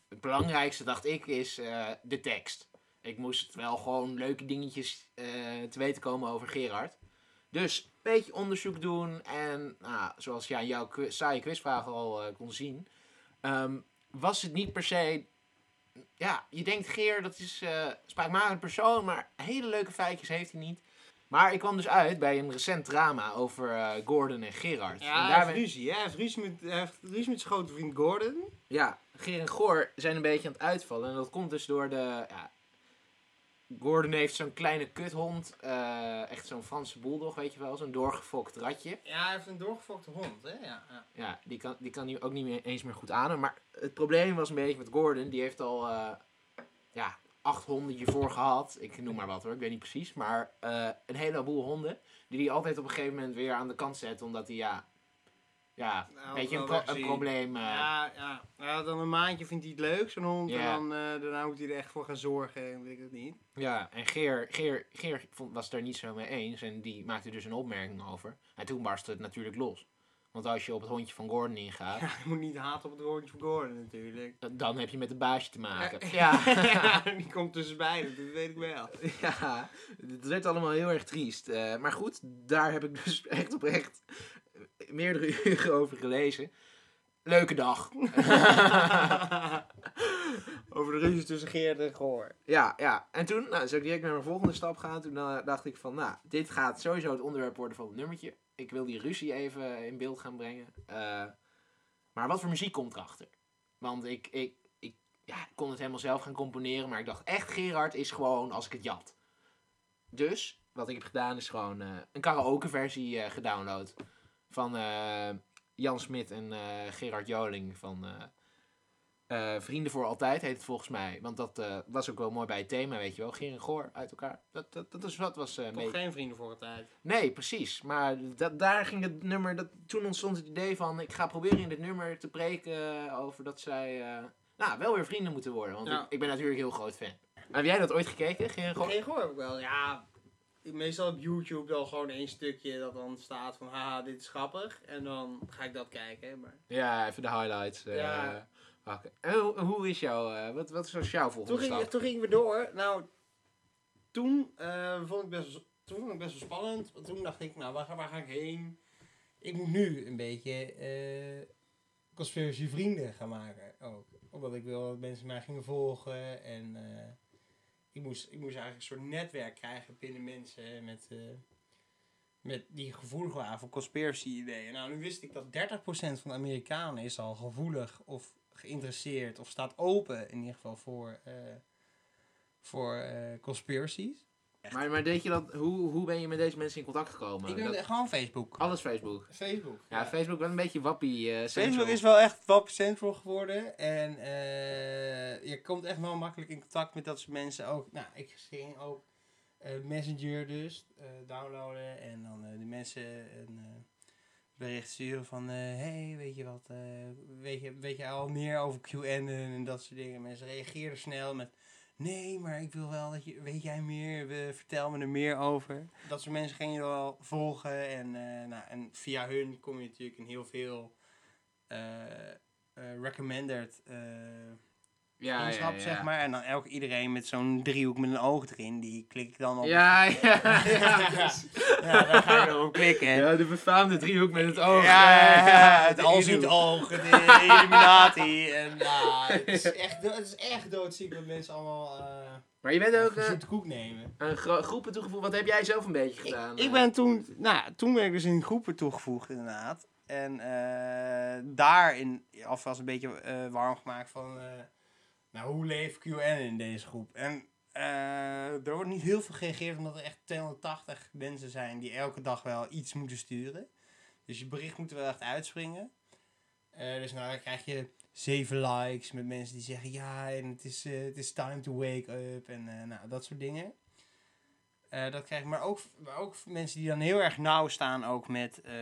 S3: het belangrijkste, dacht ik, is eh, de tekst. Ik moest wel gewoon leuke dingetjes eh, te weten komen over Gerard. Dus een beetje onderzoek doen. En nou, zoals je aan jouw qui- saaie quizvraag al eh, kon zien, ehm, was het niet per se. Ja, je denkt Geer, dat is eh spraakmakend persoon, maar hele leuke feitjes heeft hij niet. Maar ik kwam dus uit bij een recent drama over eh, Gordon en Gerard.
S4: Ja,
S3: en
S4: hij
S3: daar
S4: heeft
S3: ben-
S4: ruzie. hè. Hij heeft ruzie met, hij heeft ruzie met zijn grote vriend Gordon.
S3: ja, Geer en Goor zijn een beetje aan het uitvallen. En dat komt dus door de. Ja, Gordon heeft zo'n kleine kuthond. eh, echt zo'n Franse bulldog, weet je wel. Zo'n doorgefokt ratje.
S4: Ja, hij heeft een doorgefokte hond, hè? Ja, ja.
S3: Ja, die kan, die kan hij ook niet meer, eens meer goed aan. Maar het probleem was een beetje met Gordon. Die heeft al eh, ja, acht honden hiervoor gehad. Ik noem maar wat hoor, ik weet niet precies. Maar eh, een heleboel honden. Die hij altijd op een gegeven moment weer aan de kant zet. Omdat hij ja, ja
S4: Nou,
S3: een beetje een,
S4: wel
S3: pro-
S4: wegzien.
S3: een probleem... eh,
S4: Ja, ja. Ja, dan een maandje vindt hij het leuk, zo'n hond.
S3: Ja.
S4: En dan, eh, daarna moet hij er echt voor gaan zorgen en weet ik het niet.
S3: Ja, en Geer, Geer, Geer vond, was daar niet zo mee eens en die maakte dus een opmerking over. En toen barstte het natuurlijk los. Want als je op het hondje van Gordon ingaat,
S4: Ja, je moet niet haten op het rondje van Gordon natuurlijk.
S3: dan heb je met een baasje te maken. Ja,
S4: Ja, die komt tussen beiden, dat weet ik wel.
S3: ja het werd allemaal heel erg triest. Eh, maar goed, daar heb ik dus echt oprecht meerdere uren over gelezen. Leuke dag.
S4: Over de ruzie tussen Geert en Goor.
S3: Ja, ja. En toen nou, zou ik direct naar mijn volgende stap gaan. Toen eh, dacht ik van, nou, dit gaat sowieso het onderwerp worden van het nummertje. Ik wil die ruzie even in beeld gaan brengen. Eh, maar wat voor muziek komt erachter? Want ik, ik, ik ja, ik kon het helemaal zelf gaan componeren. Maar ik dacht echt, Gerard is gewoon als ik het jat. Dus, wat ik heb gedaan is gewoon eh, een karaoke versie eh, gedownload. Van eh, Jan Smit en eh, Gerard Joling van... eh, eh, Vrienden voor altijd heet het volgens mij. Want dat eh, was ook wel mooi bij het thema, weet je wel. Geer en goor uit elkaar. Dat, dat, dat, is, dat was eh, een
S4: Toch
S3: beetje...
S4: geen vrienden voor het tijd.
S3: Nee, precies. Maar dat, daar ging het nummer... Dat, toen ontstond het idee van... Ik ga proberen in dit nummer te breken eh, over dat zij... eh, nou, wel weer vrienden moeten worden. Want
S4: Ja.
S3: ik, ik ben natuurlijk heel groot fan. Heb jij dat ooit gekeken, Geer en goor?
S4: Geen Goor heb ik wel, ja. Meestal op YouTube dan gewoon één stukje dat dan staat van, haha, dit is grappig. En dan ga ik dat kijken, maar...
S3: Ja, even de highlights. eh,
S4: Ja.
S3: pakken. En hoe, hoe is jouw... eh, wat, wat is jouw volgende
S4: Toen, ging,
S3: stap?
S4: toen gingen we door. Nou, toen, eh, vond ik best, toen vond ik best wel spannend. Want toen dacht ik, nou, waar, ga- waar ga ik heen?
S5: Ik moet nu een beetje eh conspiracy vrienden gaan maken ook. Omdat ik wil dat mensen mij gingen volgen en eh,
S4: Ik moest, ik moest eigenlijk een soort netwerk krijgen binnen mensen met, eh, met die gevoelig waren voor conspiracy-ideeën. Nou, nu wist ik dat 30% van de Amerikanen is al gevoelig of geïnteresseerd of staat open in ieder geval voor, eh, voor eh, conspiracies.
S3: Maar, maar deed je dat... Hoe, hoe ben je met deze mensen in contact gekomen?
S4: ik ben
S3: Dat-
S4: gewoon Facebook.
S3: Alles Facebook.
S4: Facebook.
S3: Ja, Facebook wel een beetje wappie. eh,
S5: Facebook
S3: central.
S5: is wel echt wat central geworden. En eh, je komt echt wel makkelijk in contact met dat soort mensen ook. Nou, ik ging ook eh, Messenger dus eh, downloaden. En dan eh de mensen een eh,
S4: bericht sturen van... eh hey, weet je wat... eh, weet, je, weet je al meer over QAnon en dat soort dingen. Mensen reageerden snel met... Nee, maar ik wil wel dat je... Weet jij meer? We- vertel me er meer over. Dat soort mensen gingen je wel volgen. En, eh, nou, en via hun kom je natuurlijk in heel veel... eh, eh, recommended... eh,
S3: Ja,
S4: vriendschap, zeg maar. En dan elk iedereen met zo'n driehoek met een oog erin, die klik ik dan op.
S3: Ja, ja, ja.
S4: Ja, ja, daar ga ik erop klikken. Ja,
S3: de befaamde driehoek met het oog.
S4: ja, ja, het
S3: De
S4: al ziet
S3: driehoek.
S4: oog, de Illuminati. En, ja, het, is echt, do- het is echt doodziek wat mensen allemaal eh
S3: Maar je bent ook eh,
S4: zoete koek nemen.
S3: aan gro- groepen toegevoegd. Wat heb jij zelf een beetje gedaan?
S4: Ik
S3: eh?
S4: ben toen, nou, ja, toen ben ik dus in groepen toegevoegd inderdaad. En eh, daarin alvast een beetje eh, warm gemaakt van, eh, nou, hoe leeft QN in deze groep? En eh, er wordt niet heel veel gereageerd, omdat er echt 280 mensen zijn die elke dag wel iets moeten sturen. Dus je bericht moet er wel echt uitspringen. Eh, dus nou, dan krijg je zeven likes met mensen die zeggen, ja, en het is, eh, het is time to wake up en eh, nou, dat soort dingen. Eh, dat krijg ik. Maar ook, maar ook mensen die dan heel erg nauw staan ook met eh,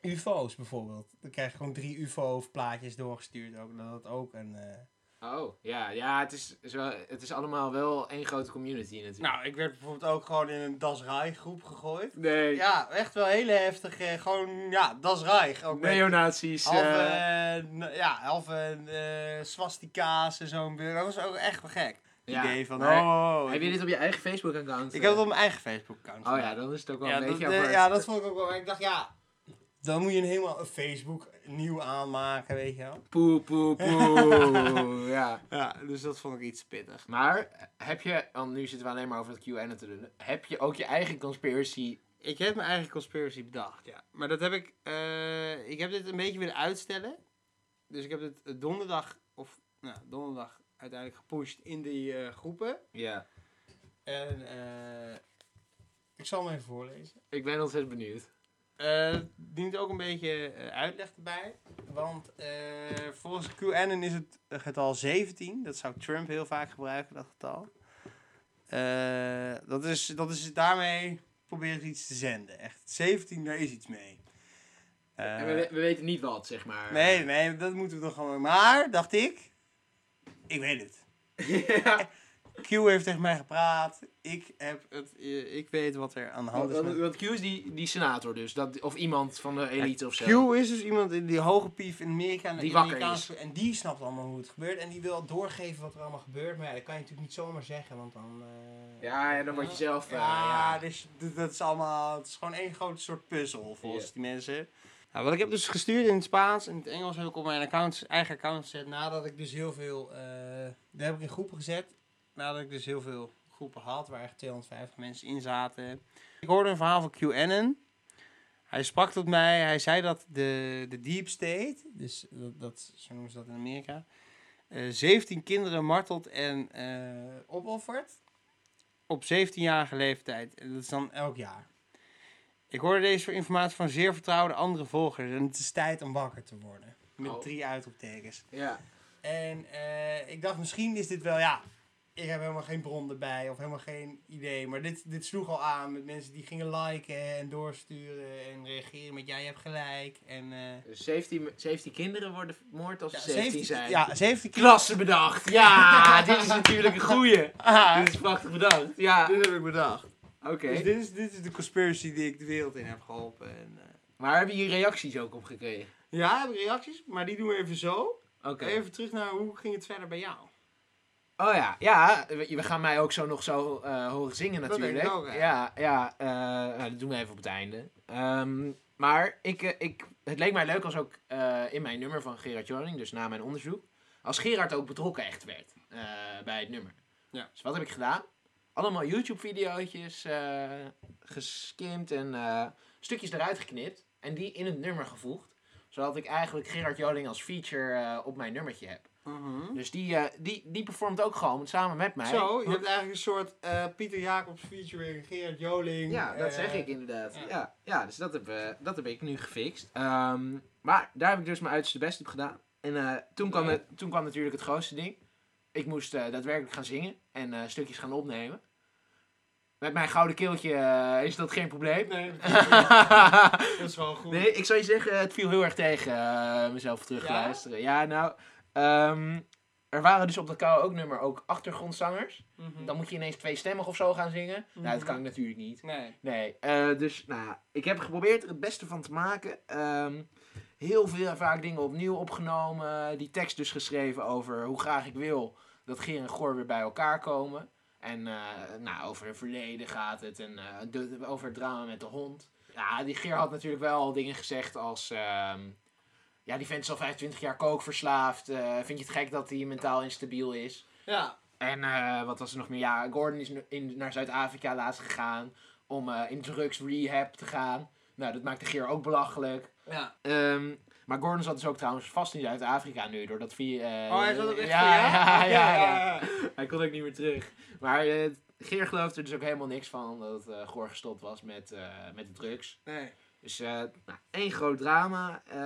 S4: UFO's bijvoorbeeld. Dan krijg je gewoon drie UFO-plaatjes doorgestuurd. Ook, dat dat ook een... eh,
S3: Oh, ja, ja het, is, is wel, het is allemaal wel één grote community natuurlijk.
S4: Nou, ik werd bijvoorbeeld ook gewoon in een Das Rai groep gegooid.
S3: nee,
S4: Ja, echt wel hele heftig. eh, gewoon, ja, Das Rai. Ook met
S3: neonazies.
S4: halve,
S3: eh,
S4: eh, n- ja, halve eh, swastika's en zo'n beurt. Dat was ook echt wel gek.
S3: Ja,
S4: idee van,
S3: maar
S4: oh...
S3: Heb je
S4: ik,
S3: dit op je eigen Facebook-account?
S4: ik heb het
S3: eh?
S4: op mijn eigen Facebook-account.
S3: Oh
S4: gedaan.
S3: ja, dan is het ook wel
S4: ja,
S3: een
S4: dat,
S3: beetje
S4: eh,
S3: apart.
S4: ja, dat vond ik ook wel. Maar ik dacht, ja, dan moet je een helemaal een Facebook nieuw aanmaken, weet je wel.
S3: Poe, poe, poe. ja.
S4: Ja, dus dat vond ik iets pittig.
S3: Maar heb je, want nu zitten we alleen maar over het QAnon te doen. Heb je ook je eigen conspiracy?
S6: Ik heb mijn eigen conspiracy bedacht, ja. Maar dat heb ik... eh, ik heb dit een beetje willen uitstellen. Dus ik heb dit donderdag... Of nou, donderdag uiteindelijk gepusht in die eh, groepen.
S3: Ja.
S4: En eh, ik zal hem even voorlezen.
S3: Ik ben ontzettend benieuwd.
S6: Eh, dient ook een beetje eh, uit.
S4: Uitleg erbij, want eh, volgens QAnon is het getal 17. Dat zou Trump heel vaak gebruiken, dat getal. Eh, dat is, dat is daarmee probeert iets te zenden. Echt, 17, daar is iets mee.
S3: en
S4: Eh,
S3: we, we weten niet wat, zeg maar.
S4: Nee, nee, dat moeten we nog gewoon. Maar, dacht ik, ik weet het.
S3: ja.
S4: Q heeft tegen mij gepraat. Ik, heb het, eh, ik weet wat er aan de hand is.
S3: Want,
S4: met-
S3: want Q is die, die senator dus. Dat, of iemand van de elite of zo.
S4: Q is dus iemand in die hoge pief in Amerika. en
S3: Die
S4: de
S3: wakker
S4: Amerikaanse- En die snapt allemaal hoe het gebeurt. En die wil doorgeven wat er allemaal gebeurt. Maar ja, dat kan je natuurlijk niet zomaar zeggen, want dan... eh,
S3: Ja, ja, dan word je zelf... eh,
S4: ja, dus d- dat is allemaal. Het is gewoon één groot soort puzzel volgens
S3: Ja.
S4: die mensen. Nou, wat ik heb dus gestuurd in het Spaans en in het Engels heb ik op mijn account, eigen account gezet. Nadat ik dus heel veel. eh daar heb ik in groepen gezet. Nadat ik dus heel veel groepen had, waar echt 250 mensen in zaten. Ik hoorde een verhaal van QAnon. Hij sprak tot mij. Hij zei dat de, de deep state, dus dat, dat, zo noemen ze dat in Amerika, eh 17 kinderen martelt en eh, opoffert op 17-jarige leeftijd. En Dat is dan elk jaar. Ik hoorde deze informatie van zeer vertrouwde andere volgers. En het is tijd om wakker te worden. Met
S3: Oh.
S4: drie uitroeptekens.
S3: ja.
S4: En eh, ik dacht, misschien is dit wel, ja... Ik heb helemaal geen bron erbij of helemaal geen idee. Maar dit, dit sloeg al aan met mensen die gingen liken en doorsturen en reageren met... Jij hebt gelijk en... eh,
S3: Dus 17, 17 kinderen worden vermoord als
S4: ja,
S3: ze 17, zijn.
S4: Ja, 17 kilo.
S3: Klasse bedacht. Ja, dit is natuurlijk een goeie.
S4: Ah,
S3: Dus Dit is prachtig bedacht. Ja,
S6: Dit heb ik bedacht.
S3: oké.
S4: dus dit is, dit is de conspiracy die ik de wereld in heb geholpen. En, eh,
S3: Maar hebben jullie reacties ook op gekregen?
S6: Ja, heb ik reacties. Maar die doen we even zo.
S3: Oké.
S6: Even terug naar hoe ging het verder bij jou?
S3: Oh ja, ja, we we gaan mij ook zo nog zo eh, horen zingen
S6: denk ik
S3: natuurlijk.
S6: ook, ja.
S3: ja, ja eh, nou, dat doen we even op het einde. Ehm, maar ik, eh, ik, het leek mij leuk als ook eh, in mijn nummer van Gerard Joning, dus na mijn onderzoek, als Gerard ook betrokken echt werd eh, bij het nummer.
S6: Ja.
S3: Dus wat heb ik gedaan? Allemaal YouTube-videootjes eh geskimd en eh, stukjes eruit geknipt en die in het nummer gevoegd. Zodat ik eigenlijk Gerard Joning als feature eh, op mijn nummertje heb.
S4: Mhm.
S3: Dus die, eh, die, die performt ook gewoon samen met mij.
S6: Hm. Zo, je hebt eigenlijk een soort eh, Pieter Jacobs featuring Gerard Joling.
S3: Ja, dat
S6: eh,
S3: zeg ik inderdaad.
S6: ja.
S3: Ja, ja dus dat heb, eh, dat heb ik nu gefixt. Ehm, maar daar heb ik dus mijn uiterste best op gedaan. En eh, toen, kwam het, toen kwam natuurlijk het grootste ding. Ik moest eh, daadwerkelijk gaan zingen en eh, stukjes gaan opnemen. Met mijn gouden keeltje eh, is dat geen probleem.
S4: Nee, dat is wel goed.
S3: nee, ik zou je zeggen, het viel heel erg tegen eh, mezelf terug te
S4: Ja?
S3: luisteren. Ja, nou, ehm, er waren dus op dat kou ook nummer ook achtergrondzangers.
S4: Mhm.
S3: Dan moet je ineens tweestemmig of zo gaan zingen. Nou, dat
S4: Mhm.
S3: kan ik natuurlijk niet.
S4: nee.
S3: Nee, eh, dus nou, ja, ik heb geprobeerd er het beste van te maken. Ehm, heel veel, vaak dingen opnieuw opgenomen. Die tekst dus geschreven over hoe graag ik wil dat Geer en Goor weer bij elkaar komen. En eh, nou, over hun verleden gaat het en eh, de- over het drama met de hond. Ja, die Geer had natuurlijk wel dingen gezegd als... ehm, ja, die vent is al 25 jaar kookverslaafd. Eh, vind je het gek dat hij mentaal instabiel is?
S4: Ja.
S3: En eh, wat was er nog meer? Ja, Gordon is nu- in, naar Zuid-Afrika laatst gegaan om eh, in drugs rehab te gaan. Nou, dat maakt de Geer ook belachelijk.
S4: Ja.
S3: Ehm, maar Gordon zat dus ook trouwens vast in Zuid-Afrika nu, doordat via... eh,
S4: Oh, hij zat ook echt
S3: ja,
S4: voor jou?
S3: ja, ja,
S4: Oké,
S3: ja,
S4: ja, ja.
S3: Hij kon ook niet meer terug. Maar eh, Geer geloofde er dus ook helemaal niks van dat eh Goor gestopt was met, eh, met de drugs.
S4: Nee.
S3: Dus eh, nou, één groot drama. Eh,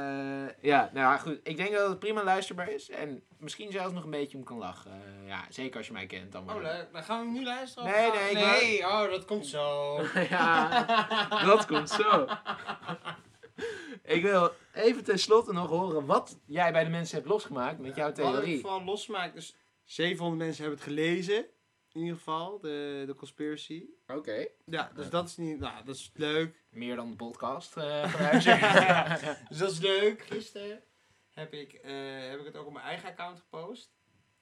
S3: ja, nou ja, goed. Ik denk dat het prima luisterbaar is. En misschien zelfs nog een beetje om kan lachen. Eh, ja, zeker als je mij kent. Dan maar.
S4: Oh, leuk. Dan gaan we hem nu luisteren? of
S3: Nee,
S4: gaan we-
S3: nee, ik
S4: Nee, oh, dat komt zo.
S3: ja, dat komt zo. Ik wil even tenslotte nog horen wat jij bij de mensen hebt losgemaakt met jouw
S4: Wat het
S3: theorie.
S4: vooral losmaakt, dus 700 mensen hebben het gelezen. In ieder geval, de, de conspiracy.
S3: Oké.
S4: Ja, dus dat is niet, nou, dat is leuk.
S3: Meer dan de podcast eh, van Huizer.
S4: Dus dat is leuk. Gisteren heb ik, eh, heb ik het ook op mijn eigen account gepost.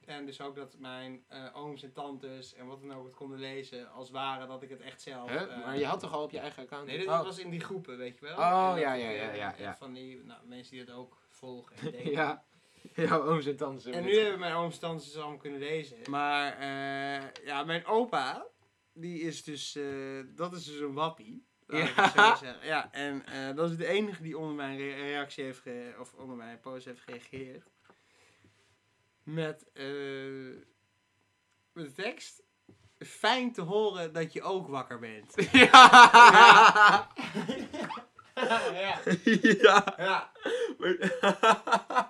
S4: En dus ook dat mijn eh, ooms en tantes en wat dan ook het konden lezen, als waren dat ik het echt zelf...
S3: Huh?
S4: eh,
S3: Maar je had toch al op je eigen account?
S4: Nee, dit
S3: Oh.
S4: was in die groepen, weet je wel.
S3: Oh,
S4: En dat
S3: ja,
S4: ik,
S3: ja,
S4: eh,
S3: ja, ja, ja.
S4: Van die nou, mensen die het ook volgen en delen.
S3: Ja. Jouw ooms en tantes.
S4: En
S3: hebben
S4: nu
S3: dit-
S4: hebben mijn ooms en tantes het allemaal kunnen lezen. Maar eh, ja, mijn opa, die is dus, eh, dat is dus een wappie. laat ik het zo
S3: Ja.
S4: zeggen. ja, en eh, dat is de enige die onder mijn re- reactie heeft, ge- of onder mijn post heeft gereageerd. Met, eh, met de tekst. Fijn te horen dat je ook wakker bent.
S1: Ja.
S4: ja. ja.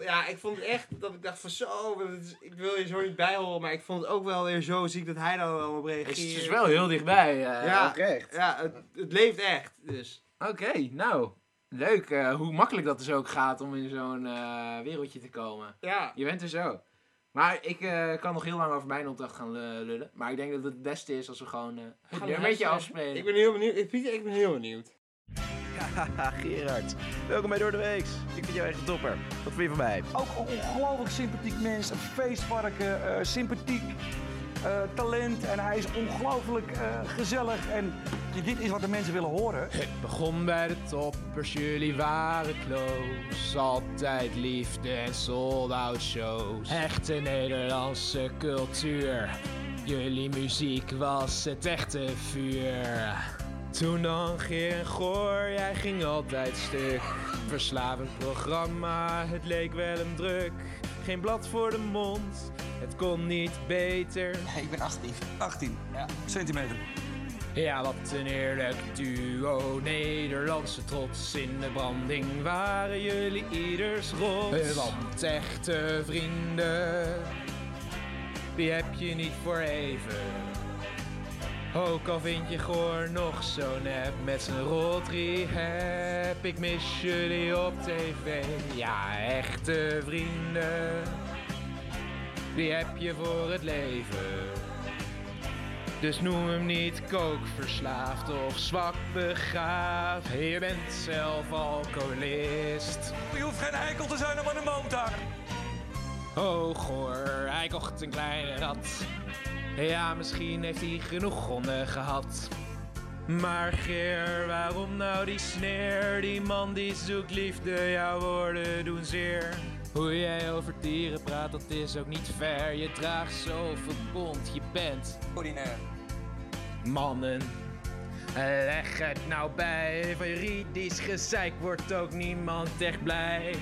S4: Ja, ik vond het echt dat ik dacht van zo, dat is- ik wil je zo niet bijhoren, maar ik vond het ook wel weer zo ziek dat hij daar wel op
S3: Het
S4: reageert.
S3: is dus wel heel dichtbij. eh,
S4: Ja.
S3: oprecht.
S4: Ja, het, het leeft echt, dus.
S3: Oké, nou. Leuk eh, hoe makkelijk dat dus ook gaat om in zo'n eh, wereldje te komen.
S4: Ja.
S3: Je bent er zo. Maar ik eh, kan nog heel lang over mijn opdracht gaan eh, lullen. Maar ik denk dat het het beste is als we gewoon eh, het
S4: Gaan we
S3: nummertje
S4: luisteren?
S3: afspelen.
S4: Ik ben heel benieuwd. Ik- Pieter, ik ben heel benieuwd.
S1: Haha, Gerard, welkom bij Door de Weeks. Ik vind jou echt een topper. Wat vind je van mij?
S7: Ook een ongelooflijk sympathiek mens, een feestvarken, eh, sympathiek, eh, talent en hij is ongelooflijk eh, gezellig en dit is wat de mensen willen horen.
S3: begon bij de toppers, jullie waren close. Altijd liefde en sold-out shows.
S8: Echte Nederlandse cultuur. Jullie muziek was het echte vuur. Toen dan Geer en Goor, jij ging altijd stuk. Verslavend programma, het leek wel een druk. Geen blad voor de mond, het kon niet beter.
S7: Ik ben 18. 18 centimeter.
S8: Ja, wat een heerlijk duo. Nederlandse trots in de branding waren jullie ieders rots. Eh, Want echte vrienden, die heb je niet voor even. Ook al vind je Goor nog zo nep met zijn rot heb Ik mis jullie op tv. Ja, echte vrienden, die heb je voor het leven. Dus noem hem niet kookverslaafd of zwak begaafd. Je bent zelf alcoholist.
S7: Je hoeft geen eikel te zijn om aan een motor.
S8: Oh goor, hij kocht een kleine rat. Ja, misschien heeft hij genoeg honden gehad. Maar Geer, waarom nou die sneer? Die man die zoekt liefde, jouw woorden doen zeer. Hoe jij over dieren praat, dat is ook niet fair. Je draagt zoveel bont, je bent
S7: Ordinair.
S8: Mannen, leg het nou bij. Van juridisch gezeik wordt ook niemand echt blij.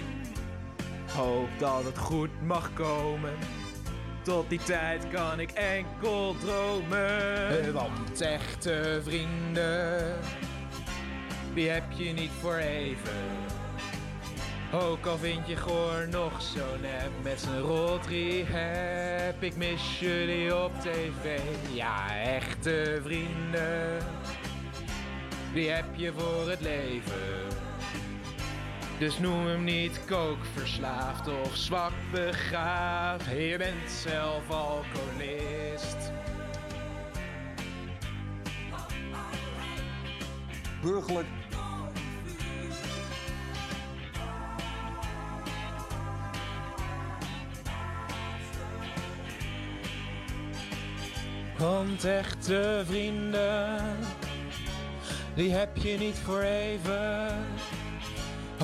S8: Hoop dat het goed mag komen. Tot die tijd kan ik enkel dromen. Want echte vrienden, die heb je niet voor even. Ook al vind je Goor nog zo nep met zijn rot heb Ik mis jullie op tv, ja echte vrienden Die heb je voor het leven Dus noem hem niet kookverslaafd of zwak begaafd Je bent zelf alcoholist
S7: burgerlijk.
S8: Want echte vrienden, die heb je niet voor even.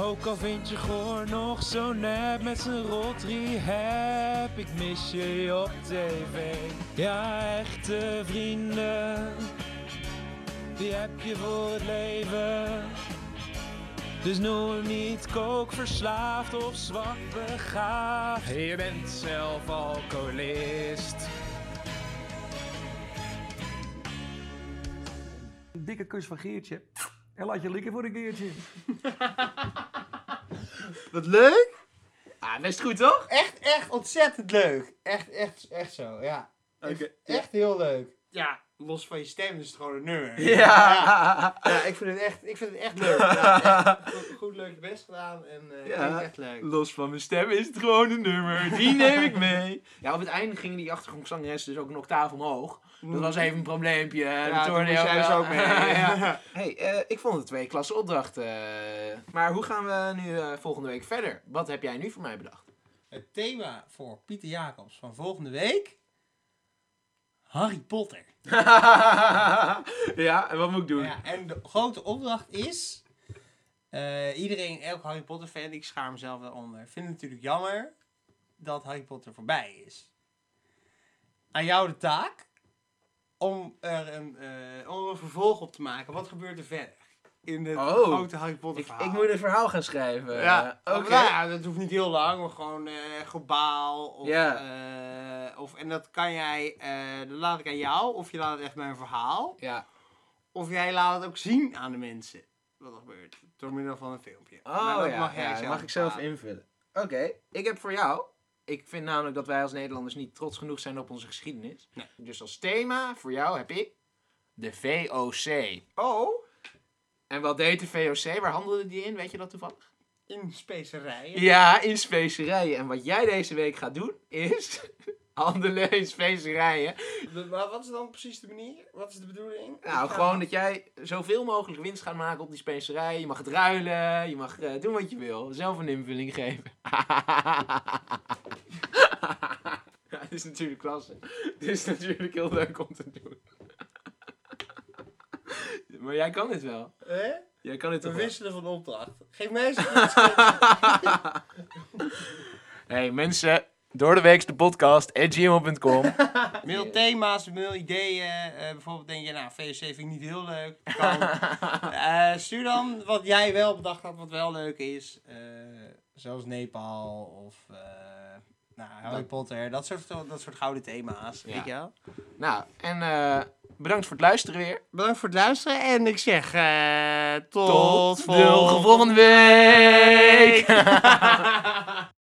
S8: Ook al vind je Goor nog zo nep met zijn rot heb ik mis je op tv. Ja, echte vrienden, die heb je voor het leven. Dus noem hem niet kookverslaafd of zwak begaafd. Je bent zelf alcoholist.
S7: Een dikke kus van Geertje. En laat je likken voor een keertje.
S9: Wat leuk!
S3: Ah, best goed toch?
S4: Echt, echt ontzettend leuk. Echt, echt, echt zo, ja.
S9: Oké.
S4: Echt heel leuk.
S9: Ja, los van je stem is het gewoon een nummer.
S3: Ja.
S4: Ja, ik vind het echt, ik vind het echt leuk.
S9: Goed, goed leuk je best gedaan en eh
S3: Ja.
S9: klinkt echt leuk.
S3: Los van mijn stem is het gewoon een nummer. Die neem ik mee. Ja, op het einde gingen die achtergrondzangeres dus ook een octaaf omhoog. Dat was even een probleempje.
S9: Ja, toen moest jij dus ook mee.
S3: ja. Hey, eh, ik vond het twee klasse opdracht. eh. maar hoe gaan we nu eh, volgende week verder? Wat heb jij nu voor mij bedacht?
S4: Het thema voor Pieter Jacobs van volgende week. Harry Potter. Nou
S3: ja, en wat moet ik doen?
S4: Ja, en de grote opdracht is... eh, iedereen, elk Harry Potter fan, ik schaar mezelf daaronder, vindt het natuurlijk jammer dat Harry Potter voorbij is. Aan jou de taak om er een, eh, om er een vervolg op te maken. Wat gebeurt er verder? In het
S3: Oh.
S4: grote Harry Potter
S3: Ik,
S4: verhaal.
S3: ik moet een verhaal gaan schrijven.
S4: Ja,
S3: Eh,
S4: oké.
S3: oké.
S4: nou ja, dat hoeft niet heel lang, maar gewoon eh globaal. Of,
S3: Ja.
S4: eh, of, en dat kan jij, eh dat laat ik aan jou, of je laat het echt bij een verhaal.
S3: Ja.
S4: Of jij laat het ook zien aan de mensen, wat er gebeurt, door middel van een filmpje. Maar
S3: Oh
S4: dat
S3: ja, mag,
S4: jij zelf
S3: mag ik zelf
S4: bepalen.
S3: invullen. Oké, ik heb voor jou. Ik vind namelijk dat wij als Nederlanders niet trots genoeg zijn op onze geschiedenis. Dus als thema voor jou heb ik de VOC.
S4: Oh,
S3: En wat deed de VOC? Waar handelde die in? Weet je dat toevallig?
S4: in specerijen.
S3: Ja, in specerijen. En wat jij deze week gaat doen is handelen in specerijen.
S4: Maar wat is dan precies de manier? Wat is de bedoeling?
S3: Nou, gewoon dat jij zoveel mogelijk winst gaat maken op die specerijen. Je mag het ruilen, je mag eh, doen wat je wil. Zelf een invulling geven. ja, het is natuurlijk klasse. Het is natuurlijk heel leuk om te doen. maar jij kan dit wel.
S4: Hè?
S3: Jij kan dit
S4: We
S3: toch wel?
S4: wisselen van opdracht. Geef mensen
S3: hey, mensen, door de week de podcast at gmail.com.
S4: Mail
S3: Yes.
S4: thema's, mail ideeën. Eh, bijvoorbeeld denk je, nou, VOC vind ik niet heel leuk. Kan. Eh, stuur dan wat jij wel bedacht had, wat wel leuk is. Eh, zoals Nepal of eh, nou, Harry
S3: Dat-
S4: Potter. Dat soort, dat soort gouden thema's.
S3: Ja.
S4: Weet je wel?
S3: nou, en eh, bedankt voor het luisteren weer.
S4: Bedankt voor het luisteren. En ik zeg eh, tot,
S3: Tot de
S4: volgende
S3: volgende week!